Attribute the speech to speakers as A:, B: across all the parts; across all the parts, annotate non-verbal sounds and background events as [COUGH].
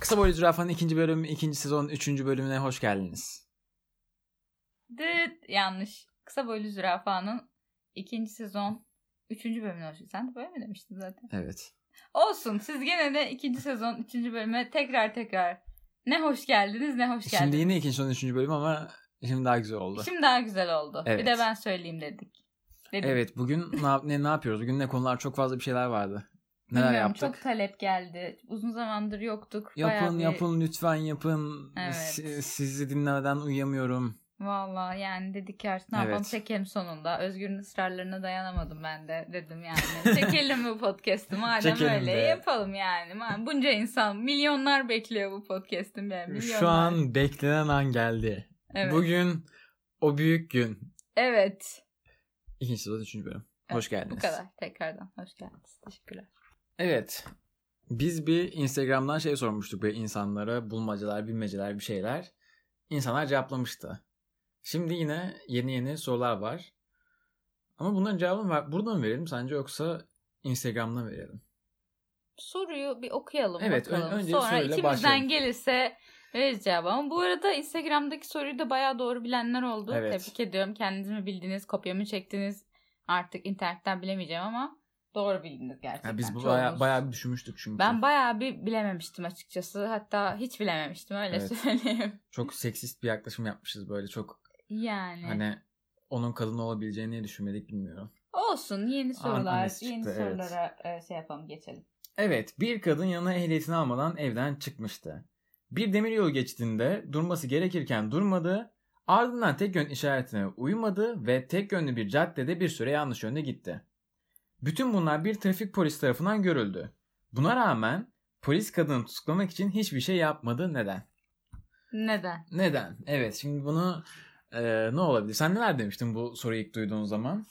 A: Kısa Boylu Zürafa'nın ikinci bölüm, ikinci sezon, üçüncü bölümüne hoş geldiniz.
B: Dıt yanlış. Kısa boylu zürafanın ikinci sezon üçüncü bölümüne hoş Sen de böyle mi demiştin zaten?
A: Evet.
B: Olsun siz gene de ikinci sezon üçüncü bölüme tekrar tekrar ne hoş geldiniz ne hoş
A: Şimdi
B: geldiniz.
A: yine ikinci sezon, üçüncü bölüm ama şimdi daha güzel oldu.
B: Şimdi, daha güzel oldu.
A: Evet.
B: Bir de ben söyleyeyim dedik. Dedim.
A: Evet bugün ne, yap- ne, ne yapıyoruz? Bugün ne konular? Çok fazla bir şeyler vardı. Neler
B: Bilmiyorum,
A: yaptık?
B: Çok talep geldi. Uzun zamandır yoktuk. Bayağı
A: Yapın
B: bir-
A: yapın lütfen yapın.
B: Evet.
A: Si- sizi dinlemeden uyuyamıyorum.
B: Valla yani dedik ki artık ne yapalım
A: Evet.
B: çekelim sonunda. Özgür'ün ısrarlarına dayanamadım ben de dedim yani. [LAUGHS] çekelim bu podcast'ı madem
A: Çekelim
B: öyle
A: be.
B: yapalım yani. Ma- Bunca insan milyonlar bekliyor bu podcast'ı yani milyonlar.
A: Şu an beklenen an geldi.
B: evet.
A: Bugün o büyük gün.
B: Evet.
A: İkinci sezon, üçüncü bölüm. Hoş
B: Evet,
A: geldiniz.
B: Bu kadar tekrardan hoş geldiniz. Teşekkürler.
A: Evet. Biz bir Instagram'dan şey sormuştuk böyle insanlara bulmacalar, bilmeceler bir şeyler. İnsanlar cevaplamıştı. Şimdi yine yeni yeni sorular var. Ama bunların cevabını ver- buradan mı verelim sence yoksa Instagram'dan mı verelim?
B: Soruyu bir okuyalım
A: Evet, ön-
B: bakalım.
A: önce
B: Sonra
A: soruyla
B: ikimizden
A: başlayalım.
B: gelirse veririz cevabı. Ama bu arada Instagram'daki soruyu da bayağı doğru bilenler oldu.
A: Evet.
B: Tebrik ediyorum. Kendiniz mi bildiniz, kopyamı çektiniz? Artık internetten bilemeyeceğim ama doğru bildiniz gerçekten.
A: Ya biz bu
B: Çoğunuz-
A: bayağı, bayağı bir düşünmüştük çünkü.
B: Ben bayağı bir bilememiştim açıkçası. Hatta hiç bilememiştim öyle
A: Evet.
B: söyleyeyim.
A: Çok seksist bir yaklaşım yapmışız böyle çok
B: Yani.
A: hani onun kadın olabileceğini niye düşünmedik bilmiyorum.
B: Olsun yeni sorular,
A: annesi
B: yeni
A: çıktı, evet.
B: sorulara e, şey yapalım geçelim.
A: Evet, bir kadın yanına ehliyetini almadan evden çıkmıştı. Bir demiryolu geçtiğinde durması gerekirken durmadı, ardından tek yön işaretine uymadı ve tek yönlü bir caddede bir süre yanlış yönde gitti. Bütün bunlar bir trafik polisi tarafından görüldü. Buna rağmen polis kadını tutuklamak için hiçbir şey yapmadı. Neden?
B: Neden?
A: Neden? Evet, şimdi bunu eee, ne olabilir? Sen neler demiştin bu soruyu ilk duyduğun zaman?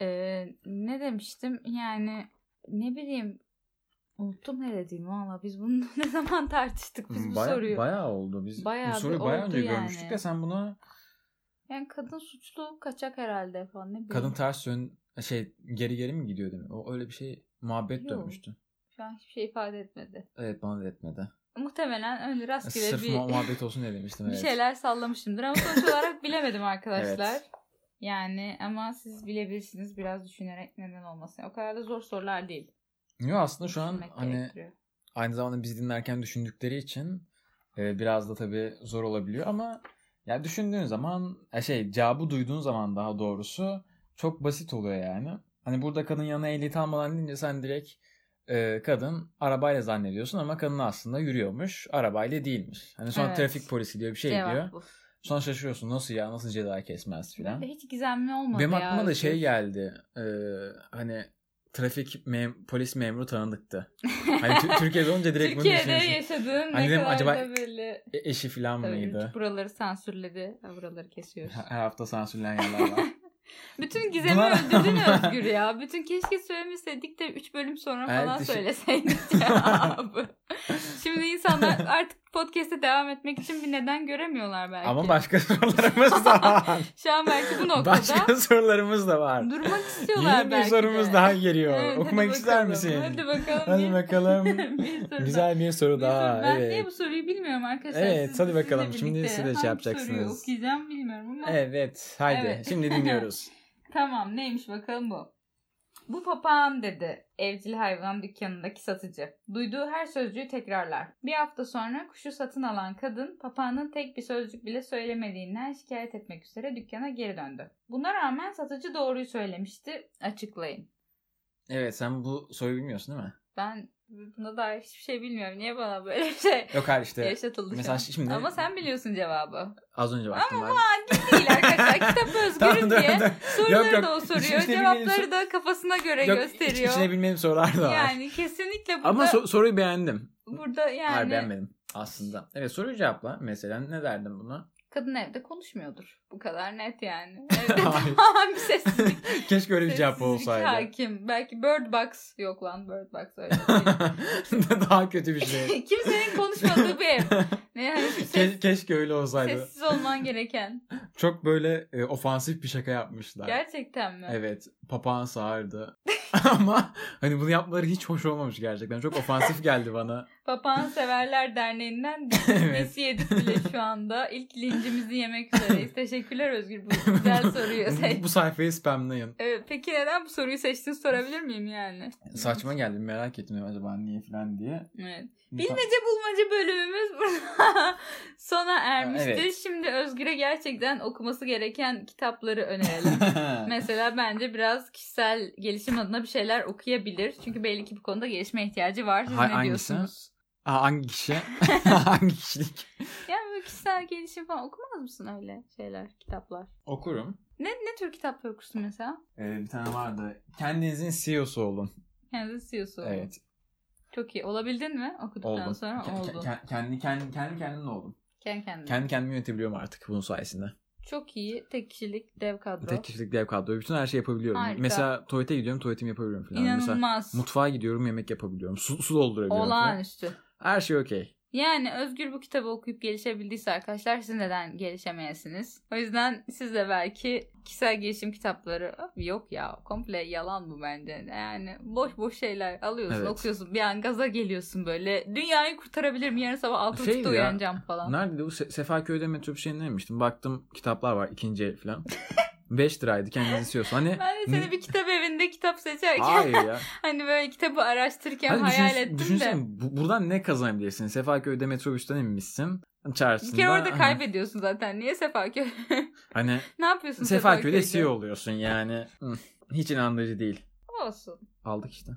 B: Ee, ne demiştim yani ne bileyim unuttum ne dediğimi valla biz bunu [LAUGHS] ne zaman tartıştık biz bu
A: Hmm, Baya-
B: soruyu.
A: Bayağı oldu. Biz
B: Bayağı
A: bu
B: bir
A: soruyu bayağı
B: oldu
A: önce
B: yani.
A: görmüştük de sen bunu
B: Yani kadın suçlu kaçak herhalde falan ne bileyim.
A: Kadın ters yön şey geri geri mi gidiyor değil mi? O öyle bir şey muhabbet
B: Yok.
A: dönmüştü.
B: Şu an hiçbir şey ifade etmedi.
A: Evet bana da etmedi.
B: Muhtemelen öyle rastgele
A: Sırf
B: bir,
A: mu-
B: [LAUGHS]
A: muhabbet olsun diye demiştim.
B: bir
A: Evet.
B: şeyler sallamışımdır ama
A: [LAUGHS]
B: sonuç olarak bilemedim arkadaşlar.
A: Evet.
B: Yani ama siz bilebilirsiniz biraz düşünerek neden olmasın. O kadar da zor sorular değil.
A: Yo, aslında şu an
B: Düşünmek
A: hani
B: gerektiriyor.
A: aynı zamanda biz dinlerken düşündükleri için e, biraz da tabii zor olabiliyor ama ya düşündüğün zaman e, şey cevabı duyduğun zaman daha doğrusu çok basit oluyor yani. Hani burada kadın yanına ehliyet almadan deyince sen direkt e, kadın arabayla zannediyorsun ama kadın aslında yürüyormuş arabayla değilmiş. Hani sonra
B: Evet.
A: trafik polisi diyor bir şey
B: Cevap
A: diyor.
B: bu.
A: Sonra şaşırıyorsun nasıl ya nasıl ceza kesmez
B: Ben de
A: filan.
B: hiç gizemli olmadı
A: Benim
B: ya.
A: aklıma da şey
B: Özgür.
A: geldi. Ee, hani trafik mem- polis memuru
B: [LAUGHS]
A: tanıdıktı. Hani Tü- Türkiye'de olunca direkt bunu
B: Türkiye'de
A: düşünüyorsun.
B: yaşadığın
A: Hani
B: ne
A: dedim
B: kadar
A: acaba-
B: da böyle
A: E- eşi filan mıydı?
B: Tabii, buraları sansürledi. Ha, Buraları kesiyoruz.
A: Her her hafta
B: [LAUGHS]
A: sansürlen yerler var.
B: Bütün gizemi
A: Buna [LAUGHS]
B: öldürdün
A: rağmen-
B: Özgür ya. Bütün keşke söylemeseydik de 3 bölüm sonra
A: Evet,
B: falan
A: düşün-
B: söyleseydik cevabı. Şimdi insanlar artık podcast'e devam etmek için bir neden göremiyorlar belki.
A: Ama başka [LAUGHS] sorularımız da
B: [LAUGHS]
A: var.
B: Şu an belki bu
A: [LAUGHS]
B: noktada
A: başka sorularımız da var.
B: durmak istiyorlar
A: Yeni bir
B: belki
A: sorumuz
B: de.
A: daha geliyor.
B: Evet, hadi
A: Okumak ister
B: bakalım.
A: misin?
B: Hadi bakalım.
A: Hadi
B: Bir-
A: bakalım.
B: [LAUGHS] bir soru daha.
A: Güzel bir soru
B: Bir soru-
A: daha.
B: Ben
A: evet.
B: niye bu soruyu bilmiyorum arkadaşlar.
A: Evet,
B: Siz-
A: hadi
B: sizinle
A: bakalım. Şimdi
B: birlikte
A: siz de şey
B: hangi soruyu
A: yapacaksınız.
B: okuyacağım bilmiyorum ama.
A: Evet, haydi.
B: Evet.
A: Şimdi dinliyoruz.
B: [LAUGHS] Tamam neymiş bakalım bu. Bu papağan dedi evcil hayvan dükkanındaki satıcı. Duyduğu her sözcüğü tekrarlar. Bir hafta sonra kuşu satın alan kadın papağanın tek bir sözcük bile söylemediğinden şikayet etmek üzere dükkana geri döndü. Buna rağmen satıcı doğruyu söylemişti. Açıklayın.
A: Evet, sen bu soruyu bilmiyorsun değil mi?
B: Ben buna dair hiçbir şey bilmiyorum. Niye bana böyle bir şey
A: Yok hayır işte
B: yaşatıldı
A: mesela
B: şu an?
A: şimdi-
B: Ama sen biliyorsun cevabı.
A: az önce baktım ben.
B: Değil
A: [LAUGHS]
B: arkadaşlar. Kitap özgürüm
A: dur,
B: diye
A: dur.
B: soruları
A: Yok, yok.
B: da o
A: İçine
B: soruyor.
A: bilmediğim
B: Cevapları
A: sor-
B: da kafasına göre
A: Yok, iç-
B: gösteriyor.
A: içine bilmediğim sorular da var.
B: Yani kesinlikle burada,
A: Ama so- soruyu beğendim.
B: burada yani
A: Hayır beğenmedim aslında. Evet soruyu cevapla. Mesela ne derdim
B: [LAUGHS]
A: buna?
B: kadın evde konuşmuyordur. Bu kadar
A: [LAUGHS]
B: net yani. Evde [LAUGHS]
A: Hayır.
B: tamamen bir sessizlik.
A: Keşke öyle bir cevap
B: sessizlik
A: olsaydı.
B: hakim. Belki Bird Box yok lan Bird Box öyle değil.
A: [LAUGHS] Daha kötü bir şey.
B: Kimsenin konuşmadığı bir ev. Ne hani şu ses-
A: Ke- keşke öyle olsaydı.
B: sessiz olman gereken.
A: Çok böyle e, ofansif bir şaka yapmışlar.
B: Gerçekten mi?
A: Evet. Papağan sağırdı. [LAUGHS] Ama hani bunu yapmaları hiç hoş olmamış gerçekten. Çok ofansif geldi bana.
B: Papağan
A: [LAUGHS]
B: Severler Derneği'nden
A: evet.
B: biz yedik bile şu anda. İlk lincimizi yemek üzereyiz. Teşekkürler Özgür
A: [LAUGHS]
B: bu güzel soruyu.
A: Bu, bu sayfayı spamlayın.
B: Evet, peki neden bu soruyu seçtin sorabilir miyim yani?
A: Saçma geldi merak ettim acaba niye falan diye.
B: Evet.
A: [LAUGHS]
B: Bilmece bulmaca bölümümüz [LAUGHS] burada sona ermiştir.
A: Evet.
B: Şimdi Özgür'e gerçekten okuması gereken
A: [LAUGHS]
B: kitapları önerelim. Mesela bence biraz kişisel gelişim adına bir şeyler okuyabilir. Çünkü belli ki bu konuda gelişme ihtiyacı var. Siz
A: Ha-
B: ne
A: hangisi?
B: diyorsunuz?
A: Aa, hangi
B: [LAUGHS]
A: kişi? [LAUGHS] hangi kişilik?
B: Ya böyle kişisel gelişim falan okumaz mısın öyle şeyler, kitaplar?
A: Okurum.
B: Ne, ne tür kitaplar okursun mesela?
A: Ee, bir tane vardı. Kendinizin CEO'su olun.
B: Kendisi CEO'su.
A: Evet.
B: Çok iyi. Olabildin mi okuduktan
A: Oldum.
B: sonra?
A: Ke- ke-
B: Oldu.
A: ke- kendi, kendi, kendi kendim oldum.
B: Kendi kendine.
A: Kendi kendimi yönetebiliyorum artık bunun sayesinde.
B: Çok iyi tek kişilik dev kadro.
A: Tek kişilik dev kadro. Bütün her şeyi yapabiliyorum.
B: Harika.
A: Mesela tuvalete gidiyorum tuvaletimi yapabiliyorum falan. Mesela
B: İnanılmaz.
A: mutfağa gidiyorum yemek yapabiliyorum. Su, su doldurabiliyorum falan.
B: Olağanüstü.
A: Her şey okey.
B: Yani Özgür bu kitabı okuyup gelişebildiyse arkadaşlar siz neden gelişemeyesiniz? O yüzden siz de belki kişisel gelişim kitapları "Öf, yok ya komple yalan bu bence. Yani boş boş şeyler alıyorsun
A: Evet.
B: okuyorsun bir an gaza geliyorsun böyle dünyayı kurtarabilirim yarın sabah altı
A: Şey ya,
B: buçukta uyanacağım falan.
A: Nerede bu? Se- Sefaköy'de metro bir şeyini demiştim. Baktım kitaplar var ikinci el
B: [LAUGHS]
A: falan. 5 liraydı kendiniz istiyorsun. Hani
B: Ben de seni bir kitap evinde kitap seçerken
A: Hayır ya.
B: hani böyle kitabı araştırırken
A: Hani
B: hayal
A: düşün-
B: ettim
A: düşünsene,
B: de.
A: bu- buradan ne kazanabilirsin? Sefaköy'de metrobüsten inmişsin. Çarşısında.
B: Bir kere orada
A: aha,
B: kaybediyorsun zaten. Niye Sefaköy? [LAUGHS]
A: Hani
B: ne yapıyorsun
A: Sefaköy'de
B: Sefaköy'de?
A: CEO oluyorsun yani. Hı, Hiç inandırıcı değil.
B: Olsun.
A: Aldık işte.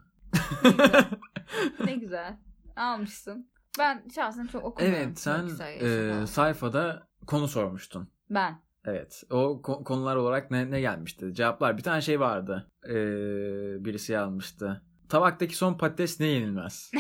B: Ne güzel. Almışsın. Ben şahsen çok okumuyorum.
A: evet sen
B: Güzel
A: e,
B: yaşam.
A: sayfada konu sormuştun.
B: ben.
A: Evet. O ko- konular olarak ne, ne gelmişti? Cevaplar. Bir tane şey vardı. E, birisi almıştı. Tabaktaki son patates ne
B: [LAUGHS]
A: yenilmez?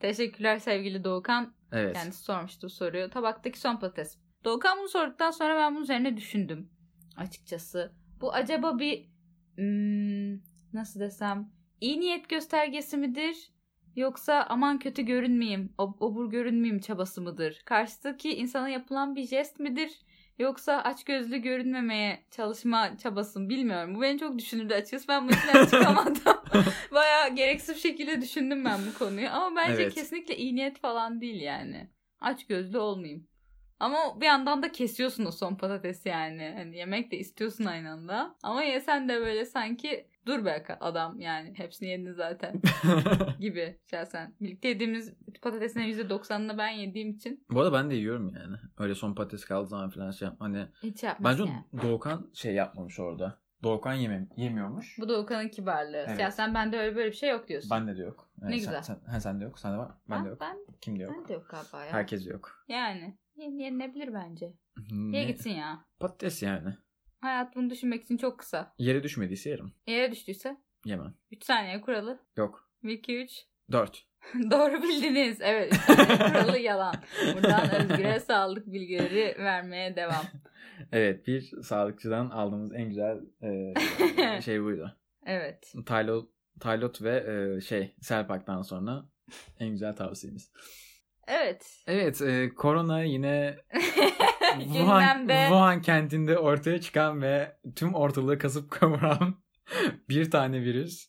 B: Teşekkürler sevgili Doğukan.
A: Evet.
B: Kendisi sormuştu soruyu. Tabaktaki son patates. Doğukan bunu sorduktan sonra ben bunun üzerine düşündüm. Açıkçası. Bu acaba bir hmm, nasıl desem iyi niyet göstergesi midir? Yoksa aman kötü görünmeyeyim, ob- obur görünmeyeyim çabası mıdır? Karşıdaki insana yapılan bir jest midir? Yoksa açgözlü görünmemeye çalışma çabası mı bilmiyorum. Bu beni çok düşündürdü açıkçası. Ben bu işten çıkamadım. Bayağı gereksiz bir şekilde düşündüm ben bu konuyu. Ama bence
A: Evet.
B: kesinlikle iyi niyet falan değil yani. Açgözlü olmayayım. Ama bir yandan da kesiyorsun o son patatesi yani. Hani yemek de istiyorsun aynı anda. Ama yesen de böyle sanki dur be adam yani hepsini
A: [LAUGHS]
B: yedin zaten gibi şahsen. Birlikte yediğimiz patatesin %90'ını ben yediğim için
A: [LAUGHS] Bu arada ben de yiyorum yani. Öyle son patates kaldığı zaman falan şey yap. Hani
B: hiç yapmaz
A: bence
B: yani.
A: Doğukan şey yapmamış orada. Doğukan yemem yemiyormuş.
B: Bu da Okan'ın kibarlığı.
A: Evet.
B: Şahsen bende öyle böyle bir şey yok diyorsun.
A: Bende de yok. Evet, sen,
B: Ne güzel.
A: Sen, ha, sende yok. Sende var.
B: ben,
A: Bende yok.
B: Ben,
A: Kimde yok.
B: ben de yok galiba ya.
A: Herkes de yok.
B: Yani yen- yenilebilir bence.
A: Ne?
B: Niye gitsin ya?
A: Patates yani.
B: Hayat bunu düşünmek için çok kısa.
A: Yere düşmediyse yerim.
B: Yere düştüyse
A: Yemem.
B: 3 saniye kuralı.
A: Yok.
B: 1 2 3
A: Dört.
B: [LAUGHS] Doğru bildiniz. Evet.
A: [LAUGHS]
B: üç saniye kuralı yalan. Buradan Özgür'e sağlık bilgileri vermeye devam.
A: Evet bir sağlıkçıdan aldığımız en güzel
B: [LAUGHS]
A: e, şey buydu.
B: Evet.
A: Taylot, Taylot ve e, şey Selpak'tan sonra en güzel tavsiyemiz.
B: Evet.
A: Evet e, korona
B: [LAUGHS]
A: yine Wuhan,
B: Gündemde.
A: Wuhan kentinde ortaya çıkan ve tüm ortalığı kasıp kavuran [LAUGHS] bir tane virüs.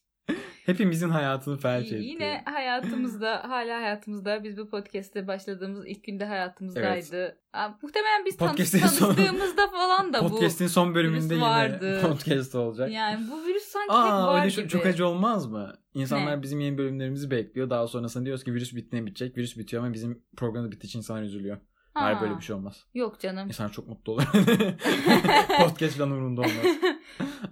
A: Hepimizin hayatını felç etti.
B: Yine hayatımızda, hala hayatımızda. Biz bu podcast'e başladığımız ilk günde hayatımızdaydı. Aa, muhtemelen biz tanış-
A: Podcast'in sonu-
B: tanıştığımızda falan da bu.
A: Podcast'in son bölümünde
B: virüs
A: yine [LAUGHS]
B: vardı.
A: podcast olacak.
B: Yani bu virüs sanki hep
A: Aa
B: var
A: öyle
B: gibi.
A: çok, çok acı olmaz mı? İnsanlar
B: Ne?
A: bizim yeni bölümlerimizi bekliyor. Daha sonrasında diyoruz ki virüs bittiğine bitecek. Virüs bitiyor ama bizim programda bittiği için insanlar üzülüyor.
B: Ha,
A: Hayır böyle bir şey olmaz.
B: Yok canım.
A: İnsan çok mutlu olur. [LAUGHS] podcast falan umurunda olmaz.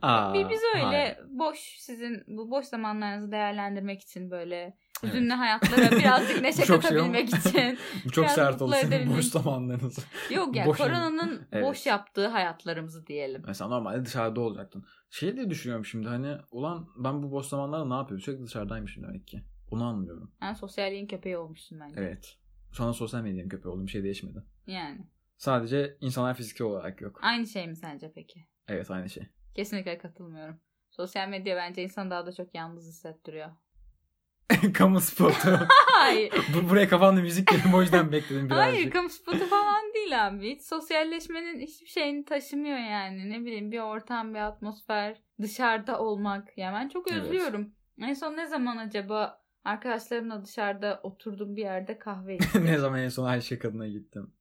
A: Aa,
B: Bi- [LAUGHS] Biz öyle
A: hayır.
B: boş sizin bu boş zamanlarınızı değerlendirmek için böyle
A: Evet. [LAUGHS]
B: hüzünlü hayatlara birazcık neşe
A: Çok şey ama-
B: katabilmek için.
A: Bu çok
B: biraz
A: sert
B: mutlu
A: olur sizin
B: edebilmek.
A: boş zamanlarınızı.
B: Yok yani
A: Boş-
B: koronanın
A: Evet.
B: boş yaptığı hayatlarımızı diyelim.
A: [LAUGHS] Mesela normalde dışarıda olacaktın. Şey de düşünüyorum şimdi hani ulan ben bu boş zamanlarda ne yapıyorum? Sürekli dışarıdaymışım demek ki. Onu anlıyorum.
B: Yani sosyalliğin köpeği olmuşsun bence.
A: Evet. Sonra sosyal medyanın köpeği oldum. Bir şey değişmedi.
B: Yani
A: Sadece insanlar fiziki olarak yok.
B: aynı şey mi sence peki?
A: Evet aynı şey. [LAUGHS]
B: Kesinlikle katılmıyorum. Sosyal medya bence insanı daha da çok
A: [LAUGHS]
B: yalnız hissettiriyor.
A: kamu spotu.
B: Hayır.
A: Bu, buraya kafanda müzik dedim o yüzden bekledim birazcık.
B: Hayır kamu spotu falan değil abi. Hiç sosyalleşmenin hiçbir şeyini taşımıyor yani. Ne bileyim bir ortam, bir atmosfer, dışarıda olmak. Ya ben çok
A: Evet.
B: özlüyorum. En son ne zaman acaba arkadaşlarımla dışarıda oturdum bir
A: [LAUGHS]
B: yerde kahve içtim?
A: ne zaman en son Ayşe Kadın'a gittim.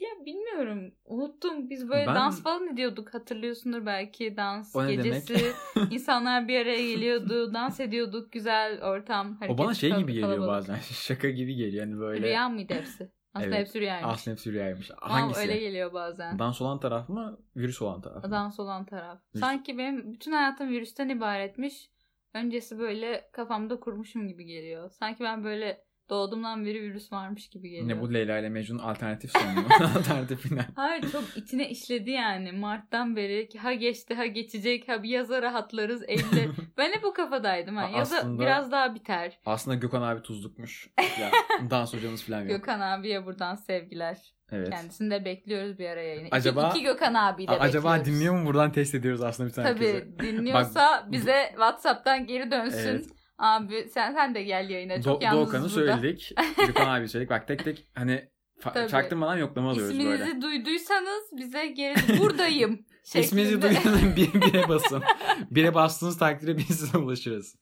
B: ya bilmiyorum. Unuttum. Biz böyle
A: Ben-
B: dans falan ediyorduk. Hatırlıyorsundur belki dans
A: O ne
B: gecesi.
A: [LAUGHS]
B: İnsanlar bir araya geliyordu. Dans ediyorduk. Güzel ortam.
A: O
B: hareketli,
A: bana şey gibi geliyor
B: kalabalık.
A: bazen. [LAUGHS] Şaka gibi geliyor. Yani böyle
B: Rüya mıydı hepsi? Aslında
A: Evet.
B: hepsi rüyaymış.
A: Aslında hepsi rüyaymış.
B: Ama
A: Hangisi?
B: öyle geliyor bazen.
A: Dans olan taraf mı? Virüs olan taraf mı?
B: Dans olan taraf.
A: Virüs-
B: Sanki benim bütün hayatım virüsten ibaretmiş. Öncesi böyle kafamda kurmuşum gibi geliyor. Sanki ben böyle doğduğumdan beri virüs varmış gibi geliyor.
A: Ne bu Leyla ile Mecnun alternatif sonu.
B: [LAUGHS]
A: [LAUGHS] alternatif final.
B: Hayır çok içine işledi yani. Mart'tan beri ki ha geçti ha geçecek ha bir yaza rahatlarız
A: [LAUGHS]
B: Eylül'e. ben hep o kafadaydım. Ha.
A: Ha,
B: Yaza
A: aslında-
B: biraz daha biter.
A: Aslında Gökhan abi tuzlukmuş.
B: [LAUGHS]
A: Ya, dans hocamız falan yok.
B: Gökhan abiye buradan sevgiler.
A: evet.
B: Kendisini de bekliyoruz bir araya. yine.
A: Acaba-
B: İki, iki Gökhan abiyi de
A: A- acaba
B: bekliyoruz.
A: dinliyor mu? Buradan test ediyoruz aslında bir tane
B: Tabii
A: herkese.
B: dinliyorsa bize WhatsApp'tan geri dönsün.
A: Evet.
B: Abi sen sen de gel yayına. Çok
A: Do-
B: yalnızız
A: Doğukan'ı
B: burada. [LAUGHS]
A: söyledik. Gökhan abi söyledik. Bak tek tek hani
B: Tabii.
A: fa- çaktırmadan yoklama alıyoruz
B: İsminizi
A: böyle.
B: duyduysanız bize geri buradayım.
A: [LAUGHS]
B: şeklinde.
A: İsminizi
B: [LAUGHS]
A: duyduğunuzda [LAUGHS] bir, bire basın. Bire bastığınız takdirde biz size ulaşırız.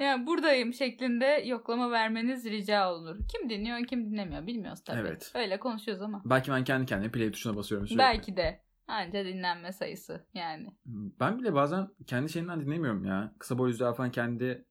B: Yani buradayım şeklinde yoklama vermeniz rica olunur. Kim dinliyor kim dinlemiyor bilmiyoruz tabii.
A: Evet.
B: Öyle konuşuyoruz ama.
A: Belki ben kendi kendime play tuşuna basıyorum sürekli.
B: Belki de anca dinlenme sayısı yani.
A: Ben bile bazen kendi şeyinden dinlemiyorum ya. Kısa boy yüzler falan kendi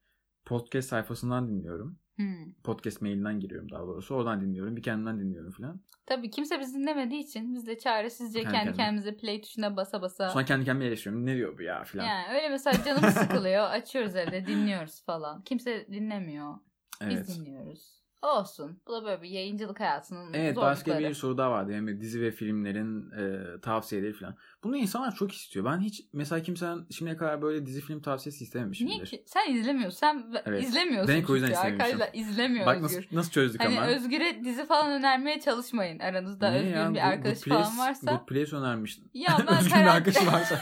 A: podcast sayfasından dinliyorum.
B: Hmm.
A: Podcast mailinden giriyorum daha doğrusu. Oradan dinliyorum. Bir kendimden dinliyorum falan.
B: Tabii kimse bizi dinlemediği için biz de çaresizce
A: Kendi
B: kendi,
A: kendine.
B: kendimize play tuşuna basa basa.
A: Sonra kendi kendime eleştiriyorum. Ne diyor bu ya falan.
B: Yani öyle mesela
A: [LAUGHS]
B: canımız sıkılıyor. Açıyoruz evde dinliyoruz falan. Kimse dinlemiyor.
A: evet.
B: Biz dinliyoruz. Olsun. Bu da böyle bir yayıncılık hayatının
A: Evet
B: zorlukları.
A: başka bir soru daha vardı. Yani dizi ve filmlerin e, tavsiyeleri falan. Bunu insanlar çok istiyor. Ben hiç mesela kimseden şimdiye kadar böyle dizi film tavsiyesi istememişimdir.
B: Niye ki? Sen izlemiyorsun. Sen
A: Evet.
B: izlemiyorsun.
A: Demek o yüzden
B: çünkü
A: izlememişim.
B: Arkadaşlar izlemiyor
A: Bak
B: Özgür.
A: nasıl, nasıl çözdük
B: Hani
A: ama.
B: Özgür'e dizi falan önermeye çalışmayın. Aranızda
A: Ne
B: Özgür'ün
A: ya?
B: bir
A: Good-
B: arkadaşı
A: Good
B: falan
A: Place-
B: varsa.
A: Good Place önermiş.
B: Ya ben
A: [LAUGHS] Özgür'ün
B: karar-
A: arkadaşı varsa.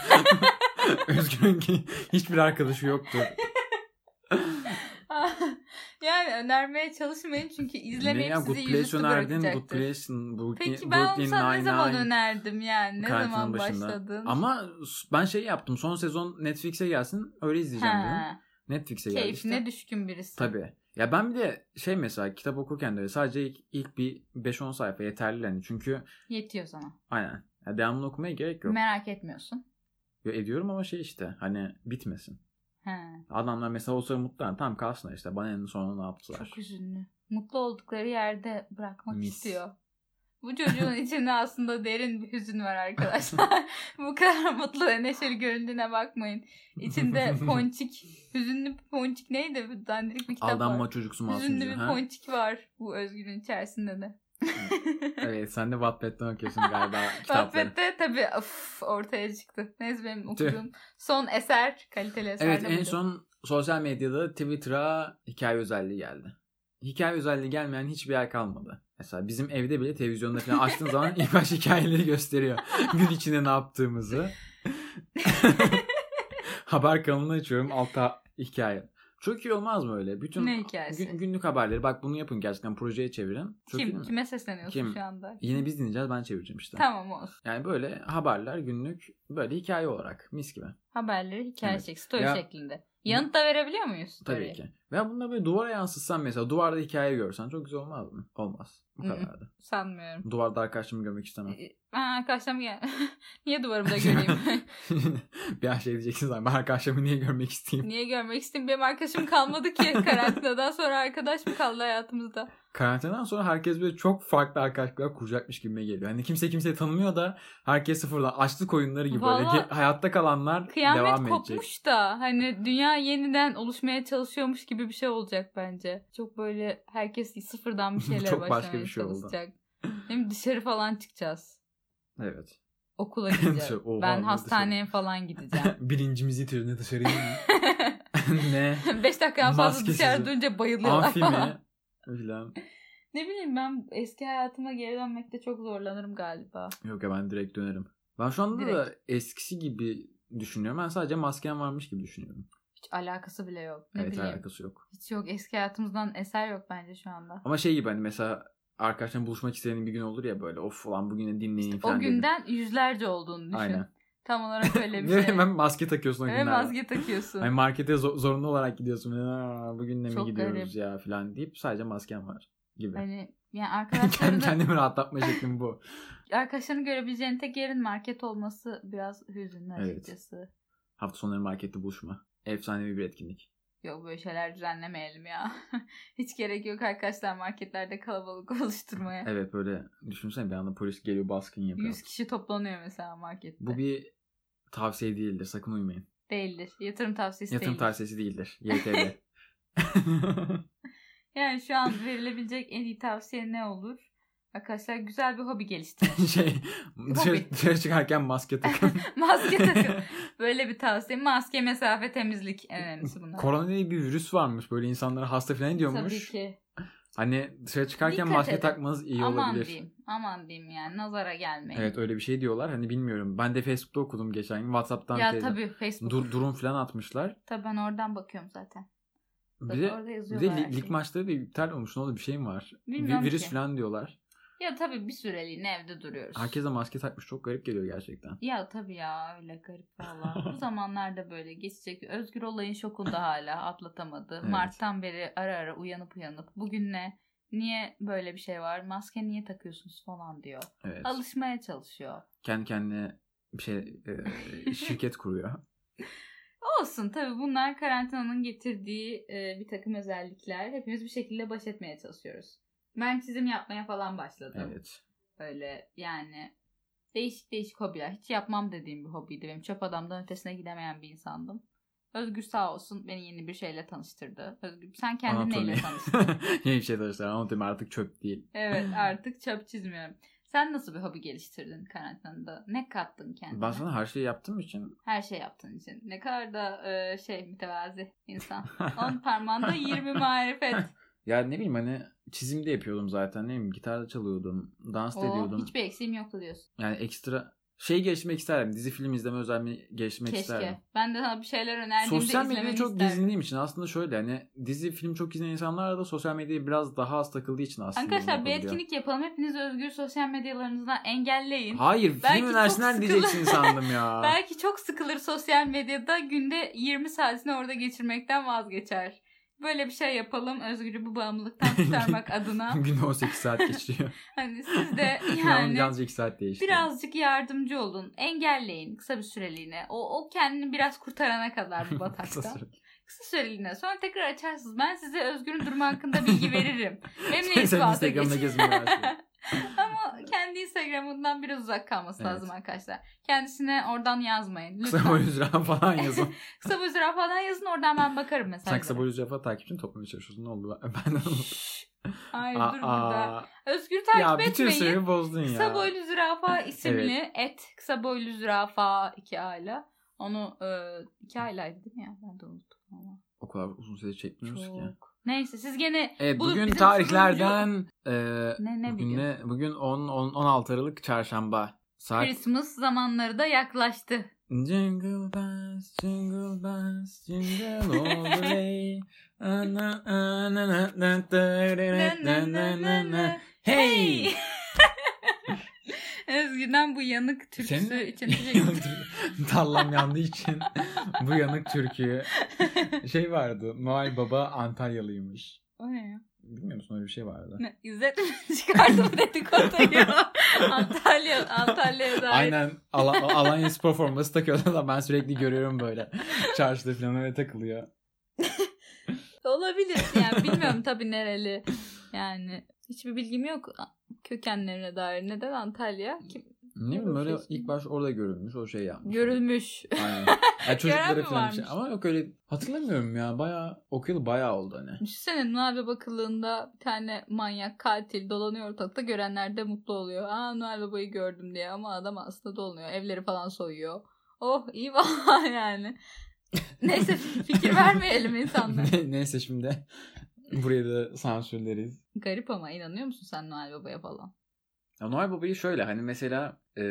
A: Özgür'ün ki hiçbir arkadaşı yoktu.
B: [LAUGHS] yani önermeye çalışmayın çünkü
A: ne
B: izlemeyip
A: ya Good
B: sizi
A: Place
B: yüzüstü
A: önerdin. Good
B: bırakacaktır.
A: Place, Brooklyn,
B: Peki ben
A: Brooklyn
B: sana ne zaman
A: Nine-Nine.
B: önerdim yani? Ne
A: Karantinanın
B: zaman
A: başında.
B: başladın?
A: Ama ben şey yaptım. Son sezon Netflix'e gelsin. Öyle izleyeceğim dedim.
B: Ha,
A: Netflix'e geldi işte.
B: keyfine düşkün birisi.
A: Tabii. Ya ben bir de şey mesela kitap okurken de öyle sadece ilk, ilk bir 5-10 sayfa yeterli yani. Çünkü
B: Yetiyor sana.
A: aynen. Ya devamını okumaya gerek yok.
B: Merak etmiyorsun.
A: Yo, ediyorum ama şey işte hani bitmesin.
B: He.
A: Adamlar mesela o sıra mutlular. Tam kalsın işte. Bana en sonunda ne yaptılar.
B: Çok üzünlü. Mutlu oldukları yerde bırakmak
A: Mis.
B: istiyor.
A: [LAUGHS]
B: Bu çocuğun içinde aslında derin bir hüzün var arkadaşlar. Bu kadar mutlu ve neşeli göründüğüne bakmayın.
A: [LAUGHS]
B: İçinde ponçik, hüzünlü bir ponçik neydi? Bir Dandirik bir kitap
A: Aldanma
B: var.
A: çocuksu
B: Hüzünlü
A: masumcu.
B: bir
A: Ha?
B: ponçik var bu özgünün içerisinde de.
A: Evet sen de Wattpad'den okuyorsun
B: [LAUGHS]
A: galiba kitapları.
B: Sohbette tabii of, ortaya çıktı. Neyse benim
A: Tüh.
B: okuduğum son eser kaliteli eser
A: Evet
B: de
A: en
B: buydu.
A: son sosyal medyada Twitter'a hikaye özelliği geldi. Hikaye özelliği gelmeyen hiçbir yer kalmadı. Mesela bizim evde bile televizyonda falan açtığın
B: [LAUGHS]
A: zaman [LAUGHS] ilk baş hikayeleri gösteriyor. Gün içinde ne
B: [LAUGHS]
A: yaptığımızı. Haber kanalını açıyorum altta hikaye. Çok iyi olmaz mı öyle? Bütün
B: Ne hikayesi?
A: gün- günlük haberleri bak bunu yapın gerçekten projeye çevirin. Çok iyi değil
B: Kim,
A: mi?
B: kime sesleniyorsun
A: Kim?
B: şu anda?
A: Yine biz dinleyeceğiz ben çevireceğim işte.
B: Tamam olsun.
A: Yani böyle haberler günlük böyle hikaye olarak mis gibi.
B: Haberleri hikaye
A: Evet.
B: şek- story
A: Ya-
B: şeklinde. Yanıt da verebiliyor muyuz?
A: Tabii
B: story'e?
A: ki. Veya bunları böyle duvara yansıtsan mesela duvarda hikaye görsen çok güzel olmaz mı? Olmaz. Bu
B: Mm-mm.
A: kadardı.
B: Sanmıyorum.
A: Duvarda arkadaşımı görmek istemem.
B: Ee, Ha, arkadaşlarım gel. [LAUGHS] Niye duvarımda
A: [LAUGHS]
B: göreyim?
A: [LAUGHS] bir an şey diyeceksiniz ama ben arkadaşımı niye görmek isteyeyim?
B: Niye görmek istedim? Benim arkadaşım
A: [LAUGHS]
B: kalmadı ki karantinadan sonra arkadaş mı kaldı hayatımızda?
A: Karantinadan sonra herkes böyle çok farklı arkadaşlıklar kuracakmış gibime geliyor. Hani kimse kimseyi tanımıyor da herkes sıfırdan açlık oyunları gibi
B: Vallahi
A: böyle ge- hayatta kalanlar devam
B: Kıyamet
A: edecek.
B: kopmuş da hani dünya yeniden oluşmaya çalışıyormuş gibi bir şey olacak bence. Çok böyle herkes
A: [LAUGHS]
B: sıfırdan bir şeyler
A: Çok başka
B: başlamaya
A: bir şey oldu.
B: çalışacak. Hem dışarı falan çıkacağız.
A: Evet. [LAUGHS]
B: Okula gideceğiz.
A: Dışarı- Oha,
B: ben
A: ne
B: hastaneye falan gideceğim.
A: Bilincimiz yitirdi [LAUGHS] dışarıya mı?
B: [LAUGHS]
A: ne?
B: 5 dakikadan fazla
A: Maskesiz.
B: dışarı durunca bayılıyorlar
A: Amfi
B: falan.
A: mi? Falan.
B: [LAUGHS] Ne bileyim ben eski hayatıma geri dönmekte çok zorlanırım galiba.
A: Yok ya ben direkt dönerim. Ben şu anda da eskisi gibi düşünüyorum. Ben sadece maskem varmış gibi düşünüyorum.
B: Hiç alakası bile yok. Ne
A: evet
B: bileyim.
A: alakası yok.
B: Hiç yok. Eski hayatımızdan eser yok bence şu anda.
A: Ama şey gibi hani mesela arkadaşlarla buluşmak istediğin bir gün olur ya böyle of ulan bugün de dinleyin falan.
B: O
A: dedim.
B: günden yüzlerce olduğunu
A: [LAUGHS]
B: düşün.
A: Aynen.
B: Tam olarak öyle bir
A: Ve [LAUGHS]
B: şey.
A: hemen maske takıyorsun o
B: Ve
A: günlerde.
B: maske takıyorsun.
A: Hani markete zo- zorunlu olarak gidiyorsun. "Aa, bugün de mi
B: Çok
A: gidiyoruz
B: garip.
A: ya falan deyip sadece masken var gibi.
B: [LAUGHS] Hani yani
A: [LAUGHS] Kendi
B: arkadaşlarını,
A: kendimi rahatlatma şeklim bu.
B: [LAUGHS] arkadaşlarını görebileceğin tek yerin market olması biraz hüzünlü
A: Evet.
B: açıkçası.
A: Hafta sonları markette buluşma. Efsanevi bir etkinlik.
B: Yok böyle şeyler düzenlemeyelim ya. [LAUGHS] Hiç gerek yok arkadaşlar marketlerde kalabalık [LAUGHS] oluşturmaya.
A: Evet böyle düşünsene bir anda polis geliyor baskın yapıyor.
B: 100 kişi toplanıyor mesela markette.
A: Bu bir tavsiye değildir. Sakın uymayın.
B: Değildir. Yatırım tavsiyesi
A: Yatırım
B: değildir.
A: tavsiyesi
B: [LAUGHS]
A: değildir. YTB.
B: Yani şu an verilebilecek en iyi tavsiye ne olur? Arkadaşlar güzel bir hobi geliştirin.
A: şey dışarı, dışarı çıkarken maske takın.
B: [LAUGHS] maske takın. Böyle bir tavsiye. Maske, mesafe, temizlik en önemlisi bunlar.
A: Korona diye bir virüs varmış. Böyle insanlara hasta falan ediyormuş.
B: Tabii ki.
A: Hani dışarı çıkarken
B: Dikkat
A: maske
B: edin.
A: takmanız iyi
B: aman
A: olabilir.
B: diyeyim. Aman diyeyim yani. Nazara gelmeyin.
A: Evet öyle bir şey diyorlar. Hani bilmiyorum. Ben de Facebook'ta okudum geçen gün. Whatsapp'tan
B: ya
A: teyze-
B: tabii Facebook.
A: Dur, durum falan atmışlar.
B: Tabii ben oradan bakıyorum zaten.
A: Bir de,
B: Orada
A: bir de
B: yazıyorlar. her
A: lig, lig
B: şeyi.
A: maçları da iptal olmuş. Ne oldu bir şey mi var? Vi-
B: Bilmiyorum
A: virüs
B: ki.
A: falan diyorlar.
B: Ya tabii bir süreliğine evde duruyoruz.
A: Herkes de maske takmış. Çok garip geliyor gerçekten.
B: Ya tabii ya öyle
A: [LAUGHS]
B: garip valla. Bu zamanlarda böyle geçecek. Özgür olayın şokunda hala atlatamadı.
A: Evet.
B: Mart'tan beri ara ara uyanıp uyanıp bugün ne? Niye böyle bir şey var? Maske niye takıyorsunuz falan diyor.
A: Evet.
B: Alışmaya çalışıyor.
A: Kendi kendine bir şey e,
B: [LAUGHS]
A: şirket kuruyor.
B: Olsun tabii bunlar karantinanın getirdiği e, bir takım özellikler. Hepimiz bir şekilde baş etmeye çalışıyoruz. Ben çizim yapmaya falan başladım.
A: Evet. [LAUGHS]
B: Böyle yani değişik değişik hobiler. Hiç yapmam dediğim bir hobiydi. Benim çöp adamdan ötesine gidemeyen bir insandım. Özgür sağ olsun beni yeni bir şeyle tanıştırdı. Özgür sen kendin
A: Anatomi. [LAUGHS]
B: neyle tanıştın?
A: Yeni bir şey arkadaşlar. Anatomi artık çöp değil.
B: evet artık çöp çizmiyorum. Sen nasıl bir hobi geliştirdin karantinada? Ne kattın kendine?
A: Ben sana her şeyi yaptığım için [LAUGHS]
B: Her şey yaptığın için. Ne kadar da e, şey mütevazi insan. 10
A: [LAUGHS]
B: parmağında 20 marifet.
A: ya ne bileyim hani çizimde yapıyordum zaten. Ne bileyim gitarda çalıyordum. Dans da
B: Oo,
A: ediyordum.
B: hiçbir eksiğim yoktu diyorsun.
A: Yani ekstra şey gelişmek isterdim. Dizi film izleme özelliğini gelişmek
B: Keşke.
A: isterdim.
B: Ben de sana bir şeyler önerdiğimde
A: sosyal medyada
B: izlemeni
A: çok
B: isterdim.
A: gezindiğim için aslında şöyle hani dizi film çok izleyen insanlar da sosyal medyaya biraz daha az takıldığı için aslında. bunu
B: Arkadaşlar bir
A: yapabiliyor.
B: etkinlik yapalım. Hepiniz özgür sosyal medyalarınızdan engelleyin.
A: Hayır
B: Belki
A: film
B: çok
A: önersinler
B: sıkılır.
A: diyeceksin sandım ya.
B: [LAUGHS] Belki çok sıkılır sosyal medyada günde 20 saatini orada geçirmekten vazgeçer. Böyle bir şey yapalım özgürü bu
A: [LAUGHS]
B: bağımlılıktan kurtarmak adına.
A: Günde 18 saat geçiyor.
B: Hani
A: [LAUGHS]
B: siz de
A: yani.
B: yani
A: Yalnızca 2 saat değişti. [LAUGHS]
B: birazcık yardımcı olun. Engelleyin kısa bir süreliğine. O, o kendini biraz kurtarana kadar
A: [LAUGHS]
B: bu
A: Kısa
B: bataktan.
A: süre.
B: kısa süreliğine. Sonra tekrar açarsınız. Ben size özgürün durumu hakkında
A: [LAUGHS]
B: bilgi veririm.
A: Şey
B: Benimle
A: Sen
B: irtibata
A: Instagram'da
B: geçin.
A: gezmeye başladın.
B: [LAUGHS] Ama kendi Instagram'ından biraz uzak kalması
A: Evet.
B: lazım arkadaşlar. Kendisine oradan yazmayın. Lütfen.
A: Kısa boy üzere falan yazın.
B: [LAUGHS] Kısa boy zürafadan yazın oradan ben bakarım mesela.
A: Sen kısa boy üzere takipçini toplamaya çalışıyorsun. Ne oldu? Ben de
B: Hayır
A: Aa,
B: dur burada.
A: aa.
B: Özgür takip
A: ya bütün
B: etmeyin.
A: süremi bozdun ya.
B: Kısa
A: [LAUGHS]
B: boylu zürafa isimli et. Kısa boylu zürafa iki hala. Onu e, iki aylaydı değil mi ya? Ben de unuttum ama.
A: O kadar uzun süre çekmiyoruz ki.
B: Çok. Neyse siz gene
A: Evet,
B: Bugün
A: bugün
B: bizim
A: tarihlerden e,
B: ne ne
A: bugün,
B: bugün?
A: ne? bugün 10, 10 16 Aralık Çarşamba saat
B: Christmas zamanları da yaklaştı.
A: Jingle bells, jingle bells, jingle all the way. Ana, ana, na, na, da, da, da, da, da, da, da. Hey!
B: Özgü'den bu yanık türküsü
A: Senin-
B: için [LAUGHS] teşekkür
A: Tallam yandığı için bu yanık türküyü şey vardı. Noel Baba Antalyalıymış.
B: [LAUGHS] O ne ya?
A: Bilmiyor musun öyle bir şey vardı.
B: Ne, İzzet mi [LAUGHS] çıkardı bu dedikoduyu? Antalya, Antalya'ya dair.
A: Aynen Ala- Alanya Spor forması takıyorlar da ben sürekli görüyorum böyle. Çarşıda falan öyle takılıyor.
B: Olabilir yani bilmiyorum tabii nereli. Yani hiçbir bilgim yok kökenlerine dair. Neden Antalya? Kim?
A: Ne bileyim
B: Öyle bir
A: öyle
B: şey.
A: ilk baş orada görülmüş o şey yapmış.
B: Görülmüş. [LAUGHS]
A: Aynen. Yani çocuklara
B: mi
A: falan bir şey.
B: varmış?
A: Ama yok öyle hatırlamıyorum ya. Bayağı okuyalı bayağı oldu hani.
B: Düşünsene Noel Baba kılığında bir tane manyak katil dolanıyor ortalıkta görenler de mutlu oluyor. Aa Noel Baba'yı gördüm diye ama adam aslında dolanıyor. Evleri falan soyuyor. Oh iyi valla [LAUGHS] yani. Neyse fikir
A: [LAUGHS]
B: vermeyelim insanlara.
A: Ne- Neyse şimdi buraya da sansürleriz.
B: Garip ama inanıyor musun sen Noel Baba'ya falan?
A: Ya Noel Baba'yı şöyle hani mesela eee,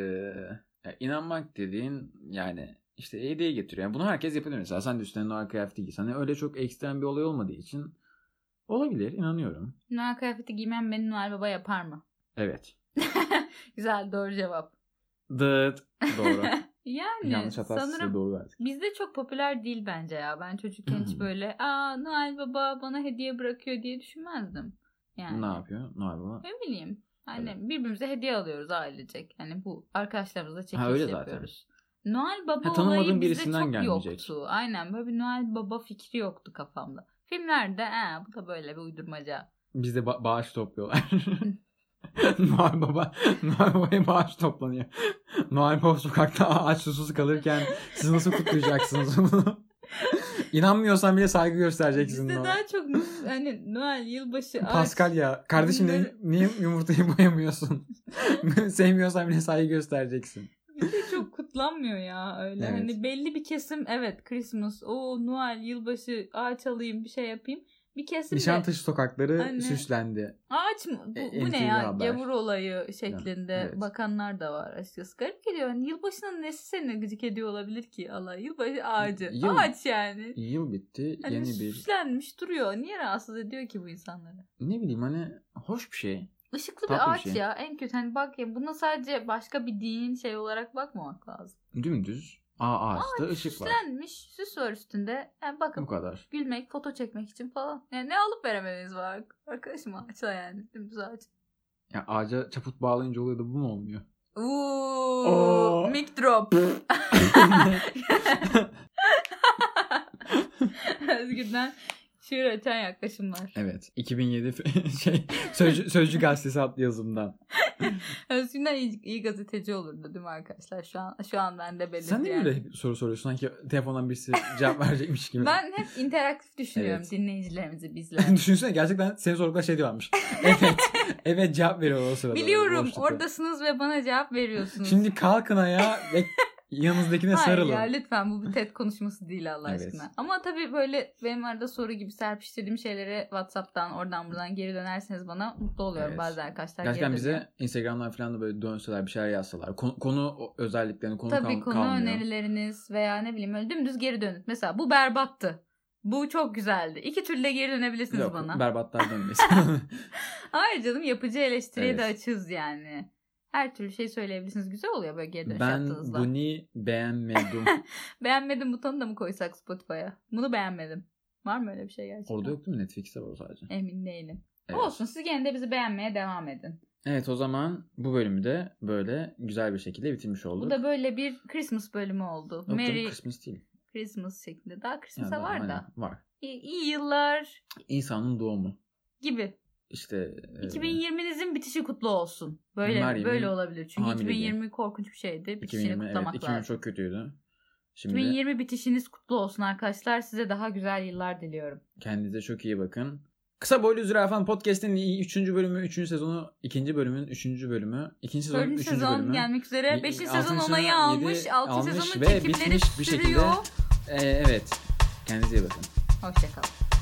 A: ya inanmak dediğin yani işte hediye getiriyor. Yani bunu herkes yapabilir mesela. Sen de üstüne Noel kıyafeti giysen. Hani öyle çok ekstrem bir olay olmadığı için Olabilir inanıyorum.
B: Noel kıyafeti giymen beni Noel Baba yapar mı?
A: Evet.
B: Güzel doğru cevap.
A: Dıt. Doğru.
B: [LAUGHS] yani
A: Yanlış hatası
B: sanırım
A: doğru verdik.
B: Bizde çok popüler değil bence ya. Ben çocukken
A: [CLEARS THROAT]
B: hiç böyle aa Noel Baba bana hediye bırakıyor diye düşünmezdim. Yani.
A: Ne yapıyor? Ne yapıyor?
B: Ne bileyim. Hani birbirimize hediye alıyoruz ailecek. Hani bu arkadaşlarımızla çekiş
A: öyle zaten.
B: yapıyoruz. Noel Baba
A: Ha, tanımadığın
B: olayı bizde
A: birisinden
B: çok
A: gelmeyecek.
B: yoktu. Aynen böyle bir Noel Baba fikri yoktu kafamda. Filmlerde ee, bu da böyle bir uydurmaca.
A: Bizde ba- bağış topluyorlar. [LAUGHS] Noel Baba, Noel Baba'ya bağış toplanıyor. Noel Baba sokakta aç susuz kalırken siz nasıl kutlayacaksınız bunu? [LAUGHS] İnanmıyorsan bile saygı göstereceksin.
B: Bizde
A: ona.
B: daha çok nus- hani Noel yılbaşı ağaç.
A: Pascal ya kardeşim niye,
B: Bunları-
A: niye yumurtayı boyamıyorsun? [LAUGHS] Sevmiyorsan bile saygı göstereceksin.
B: Bizde şey çok kutlanmıyor ya öyle.
A: Evet.
B: Hani belli bir kesim evet Christmas, o Noel, yılbaşı, ağaç alayım bir şey yapayım. Bir kesim de
A: Nişantaşı sokakları
B: Anne.
A: süslendi.
B: ağaç mı? Bu,
A: E,
B: bu ne
A: NTV
B: ya?
A: haber.
B: Gavur olayı şeklinde
A: Yani, evet.
B: bakanlar da var açıkçası. Garip geliyor. Hani yılbaşının nesi seni gıcık ediyor olabilir ki Allah? Yılbaşı ağacı.
A: Yıl-
B: Ağaç yani.
A: Yıl bitti
B: Hani
A: yeni bir
B: süslenmiş duruyor. Niye rahatsız ediyor ki bu insanları?
A: ne bileyim hani hoş bir şey.
B: Işıklı
A: Tatlı bir
B: bir ağaç
A: şey.
B: ya en kötü. Hani bak ya buna sadece başka bir din şey olarak bakmamak lazım.
A: Dümdüz ağ ağaçta ışık var.
B: Süslenmiş, süs var üstünde. Yani bakın
A: Bu kadar.
B: gülmek, foto çekmek için falan. Yani ne alıp veremediniz var arkadaşım ağaçla yani dümdüz ağaç.
A: Ya ağaca çaput bağlayınca oluyor da bu mu
B: [LAUGHS]
A: olmuyor? Oo.
B: Uuu, mic drop. [LAUGHS] Özgür'den şiir açan yaklaşımlar.
A: evet. 2007 f- [LAUGHS] şey Sözcü, Sözcü gazetesi adlı yazımdan.
B: Özgür'den iyi, iyi gazeteci olurdu değil mi arkadaşlar? Şu an şu an ben de belirtti.
A: Sen niye
B: yani.
A: böyle hep soru soruyorsun? Sanki telefondan birisi
B: [LAUGHS]
A: cevap verecekmiş gibi.
B: Ben hep interaktif düşünüyorum
A: Evet.
B: dinleyicilerimizi bizler.
A: [LAUGHS] Düşünsene gerçekten senin sordukları şey diyorlarmış. Evet. evet cevap veriyor o sırada.
B: Biliyorum
A: boşlukta.
B: oradasınız ve bana cevap veriyorsunuz.
A: Şimdi kalkın ayağa ve yanınızdakine
B: Hayır
A: sarılın.
B: ya
A: [LAUGHS]
B: lütfen bu bir TED konuşması değil Allah
A: Evet.
B: aşkına. Ama tabii böyle benim arada soru gibi serpiştirdiğim şeylere Whatsapp'tan oradan buradan geri dönerseniz bana mutlu oluyorum
A: Evet.
B: bazen arkadaşlar.
A: Gerçekten
B: geri dönüyor.
A: bize Instagram'dan falan da böyle dönseler bir şeyler yazsalar. Konu, konu o- özelliklerini konu,
B: Tabii
A: kal-
B: konu
A: kalmıyor.
B: önerileriniz veya ne bileyim öyle dümdüz geri dönüp. Mesela bu berbattı. Bu çok güzeldi. İki türlü de geri dönebilirsiniz
A: Yok,
B: bana.
A: berbatlar [LAUGHS] dönmesin.
B: Hayır canım yapıcı eleştiriye de
A: Evet.
B: açığız yani. Her türlü şey söyleyebilirsiniz. Güzel oluyor böyle geri dönüş
A: ben
B: yaptığınızda.
A: bunu
B: [LAUGHS]
A: beğenmedim.
B: Beğenmedim butonu da mı koysak Spotify'a? Bunu beğenmedim. Var mı öyle bir şey gerçekten?
A: Orada yok değil mi? Netflix'te var o sadece.
B: Emin değilim.
A: Evet.
B: Olsun siz gene de bizi beğenmeye devam edin.
A: Evet o zaman bu bölümü de böyle güzel bir şekilde bitirmiş olduk.
B: Bu da böyle bir Christmas bölümü oldu.
A: Yok canım,
B: Merry
A: Christmas değil.
B: Christmas şeklinde. Daha
A: Yani
B: Christmas'a
A: daha-
B: var da.
A: aynen, Var.
B: İyi, iyi yıllar
A: İnsanın doğumu.
B: gibi.
A: İşte e,
B: 2020'nizin bitişi kutlu olsun. Böyle
A: Meryem'in
B: böyle olabilir. Çünkü
A: hamileliği.
B: 2020 korkunç bir şeydi. Bitişini
A: 2020 evet,
B: kutlamak
A: 2020
B: lazım.
A: çok kötüydü. Şimdi
B: 2020 bitişiniz kutlu olsun arkadaşlar. Size daha güzel yıllar diliyorum.
A: kendinize çok iyi bakın. Kısa Boylu Zürafan Podcast'in 3. bölümü, 3. sezonu, 2. bölümün 3. bölümü, 2. sezonun
B: Bölüm
A: 3.
B: sezon
A: bölümü.
B: gelmek üzere. 5.
A: Altıncı
B: sezon
A: sezon
B: onayı
A: yedi
B: almış. 6.
A: almış
B: sezonun
A: ve
B: çekimleri
A: bitmiş bir şekilde.
B: sürüyor.
A: Ee, evet. E, Kendinize iyi bakın.
B: Hoşçakalın.